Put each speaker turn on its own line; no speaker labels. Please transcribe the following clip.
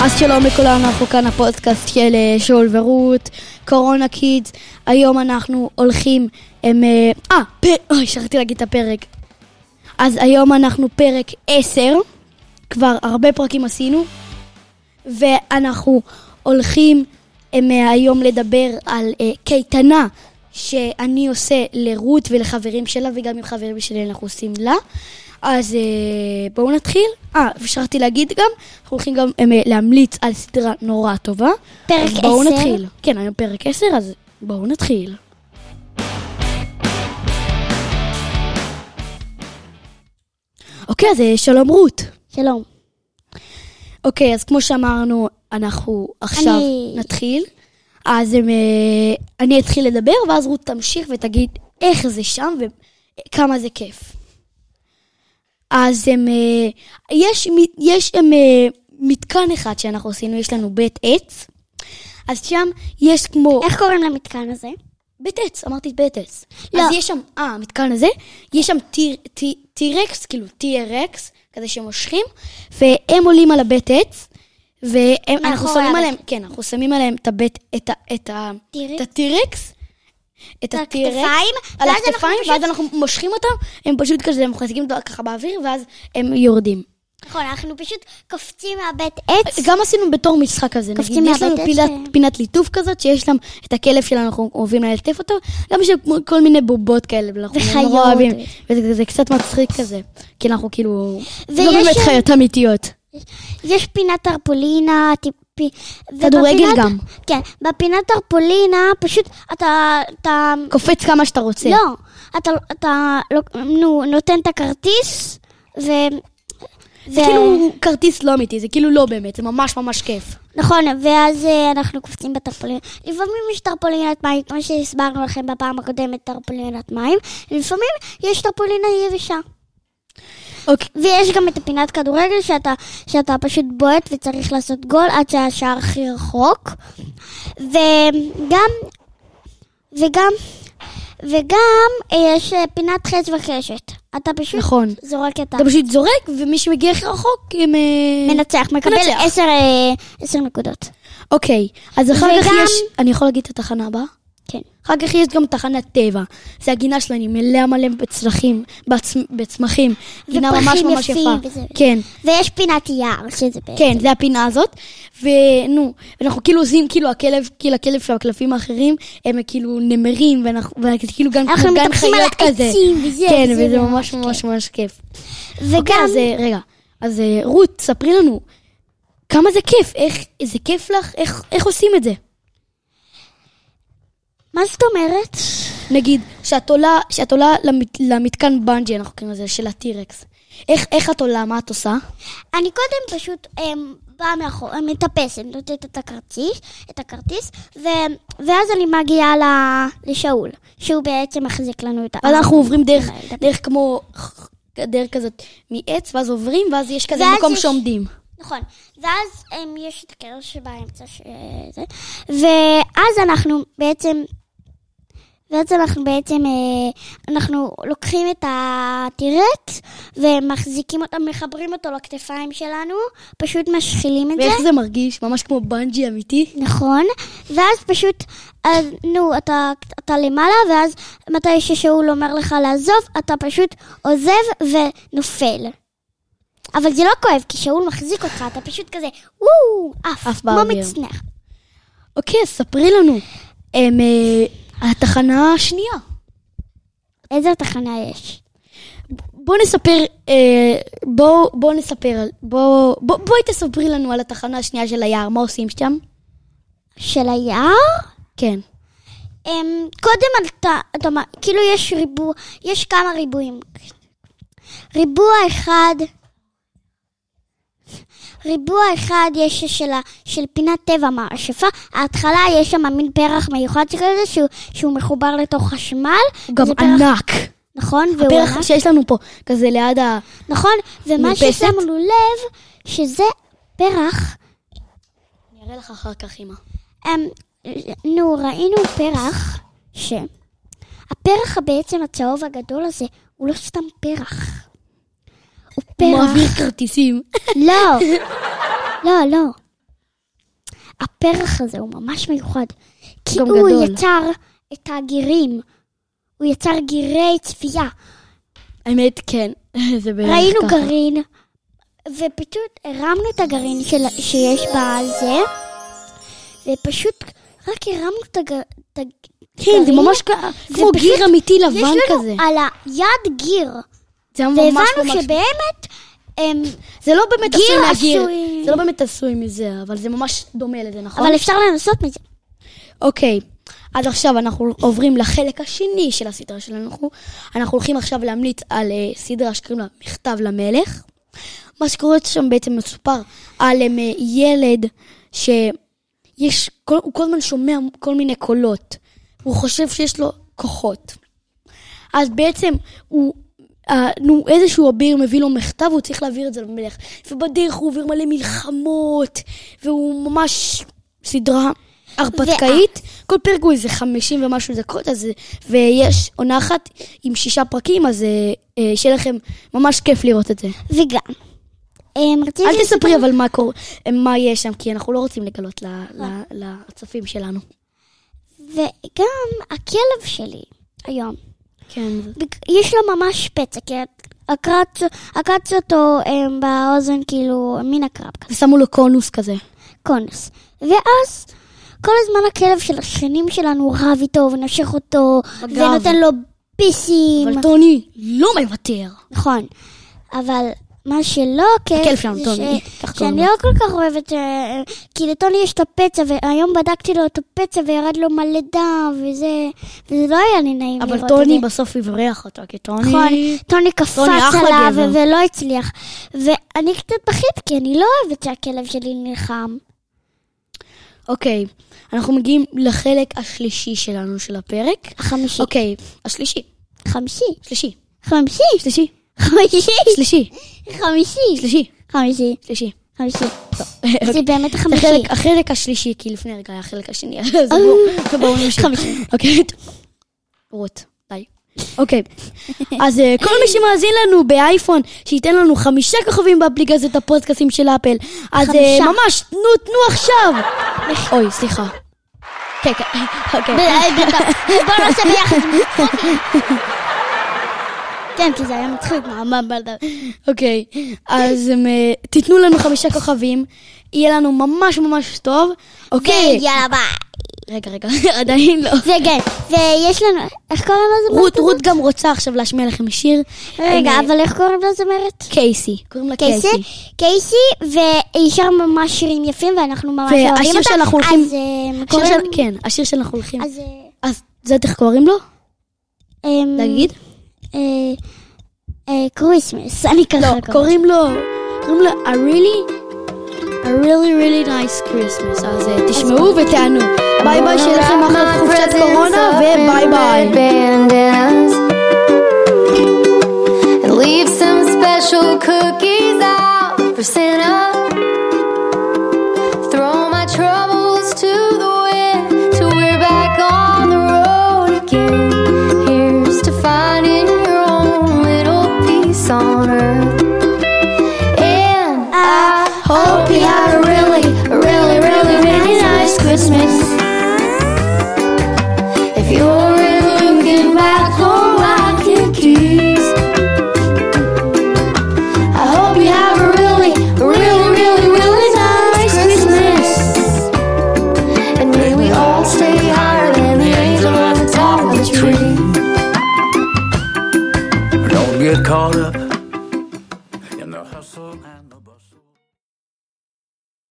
אז שלום לכולם, אנחנו כאן הפודקאסט של אה, שאול ורות, קורונה קידס. היום אנחנו הולכים, הם... אה, אה, פ- אוי, שכחתי להגיד את הפרק. אז היום אנחנו פרק 10, כבר הרבה פרקים עשינו, ואנחנו הולכים הם, אה, היום לדבר על אה, קייטנה שאני עושה לרות ולחברים שלה, וגם עם חברים שלי אנחנו עושים לה. אז אה, בואו נתחיל. אה, ושכחתי להגיד גם, אנחנו הולכים גם הם, אה, להמליץ על סדרה נורא טובה.
פרק
אז בואו
10?
נתחיל. כן, היום פרק 10, אז בואו נתחיל. אוקיי, אז אה, שלום רות.
שלום.
אוקיי, אז כמו שאמרנו, אנחנו עכשיו
אני-
נתחיל. אז הם, אה, אני אתחיל לדבר, ואז רות תמשיך ותגיד איך זה שם וכמה זה כיף. אז הם, אה, יש, מ- יש הם, אה, מתקן אחד שאנחנו עשינו, יש לנו בית עץ. אז שם יש כמו...
איך קוראים למתקן הזה?
בית עץ, אמרתי בית עץ.
לא.
אז יש שם, אה, המתקן הזה, יש שם טיר- טי- T-Rex, כאילו TRX, כזה שמושכים, והם עולים על הבית עץ, ואנחנו
מאחורי
שמים
הבית.
עליהם, כן, אנחנו שמים עליהם את הבית, את ה- את ה...
T-Rex?
את ה-T-Rex, את
על
ה-T-Rex,
הכתפיים,
על
ואז אנחנו
הכתפיים,
פשוט-
ואז אנחנו מושכים אותם, הם פשוט כזה מחזיקים אותו ככה באוויר, ואז הם יורדים.
נכון, אנחנו פשוט קופצים מהבית עץ.
אה, גם עשינו בתור משחק כזה,
קופצים
נגיד, יש לנו
מהבית
פינת,
עץ, אה.
פינת ליטוף כזאת, שיש שם את הכלב שלנו, אנחנו אוהבים ללטף אותו, גם יש שם כל מיני בובות כאלה, אנחנו
וחיות.
נורא אוהבים, וזה זה, זה קצת מצחיק כזה, כי אנחנו כאילו,
ויש
לא באמת
שם-
חיות אמיתיות.
יש פינת טרפולינה, טיפי...
כדורגל
ובפינת-
גם.
כן, בפינת טרפולינה, פשוט אתה... אתה...
קופץ כמה שאתה רוצה.
לא, אתה... אתה... לוק- נו, נותן את הכרטיס, ו...
זה כאילו כרטיס לא אמיתי, זה כאילו לא באמת, זה ממש ממש כיף.
נכון, ואז אה, אנחנו קופצים בטרפולינה. לפעמים יש טרפולינת מים, כמו שהסברנו לכם בפעם הקודמת, טרפולינת מים. לפעמים יש טרפולינה יבשה.
אוקיי,
ויש גם את הפינת כדורגל שאתה, שאתה פשוט בועט וצריך לעשות גול עד שהשער הכי רחוק. וגם, וגם, וגם אה, יש אה, פינת חץ וחשת. אתה פשוט
נכון.
זורק את ה...
אתה פשוט זורק, ומי שמגיע הכי רחוק, הם... אה,
מנצח, מקבל
מנצח.
עשר, אה, עשר נקודות.
אוקיי, אז אחר כך
וגם-
יש... אני יכול להגיד את התחנה הבאה?
כן.
אחר כך יש גם תחנת טבע. זה הגינה שלנו, מלאה מלא בצלחים, בצ... בצמחים. גינה ממש
ופרחים
ממש
יפים
יפה.
וזה.
כן,
ויש פינת יער, שזה בעצם...
כן, זה הפינה הזאת. ונו, אנחנו כאילו עושים, כאילו הכלב, כאילו הכלב של הקלפים האחרים, הם כאילו נמרים, ואנחנו ואנחנו כאילו גם
אנחנו
כמו גן
מתהפכים על
חיות כזה.
העצים, וזה,
כן,
וזה
וזה
ממש אמ.
ממש ממש ממש כיף. אוקיי,
וגם...
אז אה, רגע, אז אה, רות, ספרי לנו, כמה זה כיף, איך, זה כיף לך, איך- איך עושים את זה?
מה זאת אומרת?
נגיד, שאת עולה, שאת עולה למת, למתקן בנג'י, אנחנו קוראים לזה, של הטירקס. איך, איך את עולה? מה את עושה?
אני קודם פשוט אמ, באה מאחור, אמ, מטפסת, נותנת את הכרטיס, את הכרטיס, ו- ואז אני מגיעה ל- לשאול, שהוא בעצם מחזיק לנו את ה...
ואז אנחנו עוברים דרך,
כן,
דרך כמו, דרך כזאת מעץ, ואז עוברים, ואז יש כזה
ואז
מקום
יש-
שעומדים.
נכון. ואז אמ, יש את הקרש שבאמצע ש... זה, ואז אנחנו בעצם... ואז אנחנו בעצם, אה, אנחנו לוקחים את הטירקס ומחזיקים אותו, מחברים אותו לכתפיים שלנו, פשוט משחילים את זה.
ואיך זה מרגיש? ממש כמו בנג'י אמיתי?
נכון, ואז פשוט, אז, נו, אתה, אתה למעלה, ואז מתי ששאול אומר לך לעזוב, אתה פשוט עוזב ונופל. אבל זה לא כואב, כי שאול מחזיק אותך, אתה פשוט כזה, וואו,
עף
עף, כמו
באוויר.
מצנח.
אוקיי, אז ספרי לנו. הם, אה, התחנה השנייה.
איזה תחנה יש?
בוא נספר, אה, בוא, בוא נספר, על- בוא, בוא, בואי תספרי לנו על התחנה השנייה של היער, מה עושים שם?
של היער?
כן.
אמ, קודם אתה, אתה, מ- כאילו יש ריבוע, יש כמה ריבועים. ריבוע אחד, ריבוע אחד יש של, ה- של פינת טבע מהשפה, ההתחלה יש שם מין פרח מיוחד שכזה שהוא, שהוא מחובר לתוך חשמל.
הוא גם
זה פרח-
ענק.
נכון, והוא
הפרח
ענק.
שיש לנו פה, כזה ליד ה...
נכון, ומה
מרפסת?
ששמנו לב, שזה פרח,
אני אראה לך אחר כך, אמא.
אמ, נו, ראינו פרח, ש... הפרח בעצם הצהוב הגדול הזה, הוא לא סתם פרח. הוא
הוא מעביר
פרח.
כרטיסים.
לא. לא, לא. הפרח הזה הוא ממש מיוחד. כי
גם
הוא
גדול.
יצר את הגירים. הוא יצר גירי צפייה.
האמת, כן. זה בערך
ראינו
ככה.
גרעין, ופשוט הרמנו את הגרעין של, שיש בזה, ופשוט רק הרמנו את הגרעין.
כן, זה ממש כ- כמו
פשוט-
גיר אמיתי
יש
לבן
לנו
כזה.
על היד גיר,
זה היה ממש
והבנו
ממש...
שבאמת, אמ,
זה לא באמת עשוי
גיר
מהגיר.
עשוי.
זה לא באמת עשוי מזה, אבל זה ממש דומה לזה, נכון?
אבל אפשר לנסות מזה.
אוקיי, אז עכשיו אנחנו עוברים לחלק השני של הסדרה שלנו. אנחנו- אנחנו הולכים עכשיו להמליץ על אה, סדרה שקוראים לה מכתב למלך. מה שקורה שם בעצם מסופר על אה, ילד שיש, כל, הוא כל הזמן שומע כל מיני קולות. הוא חושב שיש לו כוחות. אז בעצם הוא, אה, נו, איזשהו אביר מביא לו מכתב, הוא צריך להעביר את זה למלך. ובדרך הוא עובר מלא מלחמות, והוא ממש סדרה הרפתקאית. כל פרק הוא איזה 50 ומשהו דקות, אז, ויש עונה אחת עם שישה פרקים, אז אה, אה, שיהיה לכם ממש כיף לראות את זה.
וגם, אמ, רציתי...
אל תספרי אבל מה קורה, אה, מה יש שם, כי אנחנו לא רוצים לגלות ל- ל- לצופים שלנו.
וגם הכלב שלי היום,
כן.
בג- יש לו ממש פצע, כי עקץ, עקץ אותו אמ, באוזן, כאילו, מין הקרב כזה.
ושמו לו קונוס כזה.
קונס. ואז כל הזמן הכלב של השכנים שלנו רב איתו ונושך אותו,
בגב.
ונותן לו ביסים.
אבל טוני לא מוותר.
נכון. אבל מה שלא כיף,
הכלב שלנו,
זה
טוני,
ש-
כך קוראים
שאני
לו.
לא כל כך אוהבת, אה, כי לטוני יש את הפצע, והיום בדקתי לו את הפצע וירד לו מלא דם, וזה, וזה לא היה לי נעים לראות
אבל
את זה.
טוני בסוף הבריח אותו, כי טוני...
נכון, טוני קפץ
טוני אחלה
עליו
גבר.
ו- ולא הצליח. ואני קצת בכיתי, כי אני לא אוהבת שהכלב שלי נלחם.
אוקיי, אנחנו מגיעים לחלק השלישי שלנו של הפרק.
החמישי.
אוקיי, השלישי,
חמישי.
שלישי,
חמישי.
שלישי,
חמישי.
שלישי,
חמישי.
שלישי,
חמישי.
שלישי.
חמישי.
אוקיי.
זה באמת החמישי.
החלק, החלק השלישי, כי לפני רגע היה החלק השני, אז בואו בואו נמשיך.
חמישי.
אה, אוקיי, טוב. רות, די. אוקיי, אז אה, כל מי שמאזין לנו באייפון, שייתן לנו חמישה כוכבים באפליקציות הפודקאסים של אפל. אז אה,
חמישה.
ממש, תנו, תנו עכשיו! אוי, סליחה. כן, כן, אוקיי.
er
בואו נעשה ביחד.
er
כן, כי זה היה מצחיק. מה, מה, מה, מה.
אוקיי, אז אמ, אה, תיתנו לנו חמישה כוכבים, יהיה לנו ממש ממש טוב. אוקיי,
ויאללה ביי.
רגע, רגע, עדיין לא.
וכן, ויש לנו, איך קוראים לזה?
רות, רות גם רוצה עכשיו להשמיע לכם שיר.
רגע,
øh.
אה,
אבל איך קוראים לזמרת?
קייסי, קוראים לה
קייסי,
קייסי.
קייסי, והיא שרה ממש שירים יפים, ואנחנו ממש
er-
והשיר
אוהבים אותה.
שאנחנו הולכים-
אז אה,
השיר
קוראים...
של- כן, השיר שאנחנו הולכים.
אז... אה,
אז זה איך קוראים לו?
אמ,
להגיד?
אה, אה, קריסמס, אני ככה
לא, קוראים לו, קוראים לו a really, a really really nice Christmas. אז אה, תשמעו ותענו. ביי ביי, שיהיה לכם אחלה חופשת קורונה, וביי ביי.
Bandanas. And leave some special cookies out for Santa. Throw my troubles to the wind till we're back on the road again. Here's to finding your own little peace on earth. And I hope you had a Oh, really, a really, really, really nice Christmas. If you're really looking back on my cookies, I hope you have a really, really, really, really nice Christmas. And may we all stay higher than the angel on the top of the tree.
Don't get caught up in the hustle. and-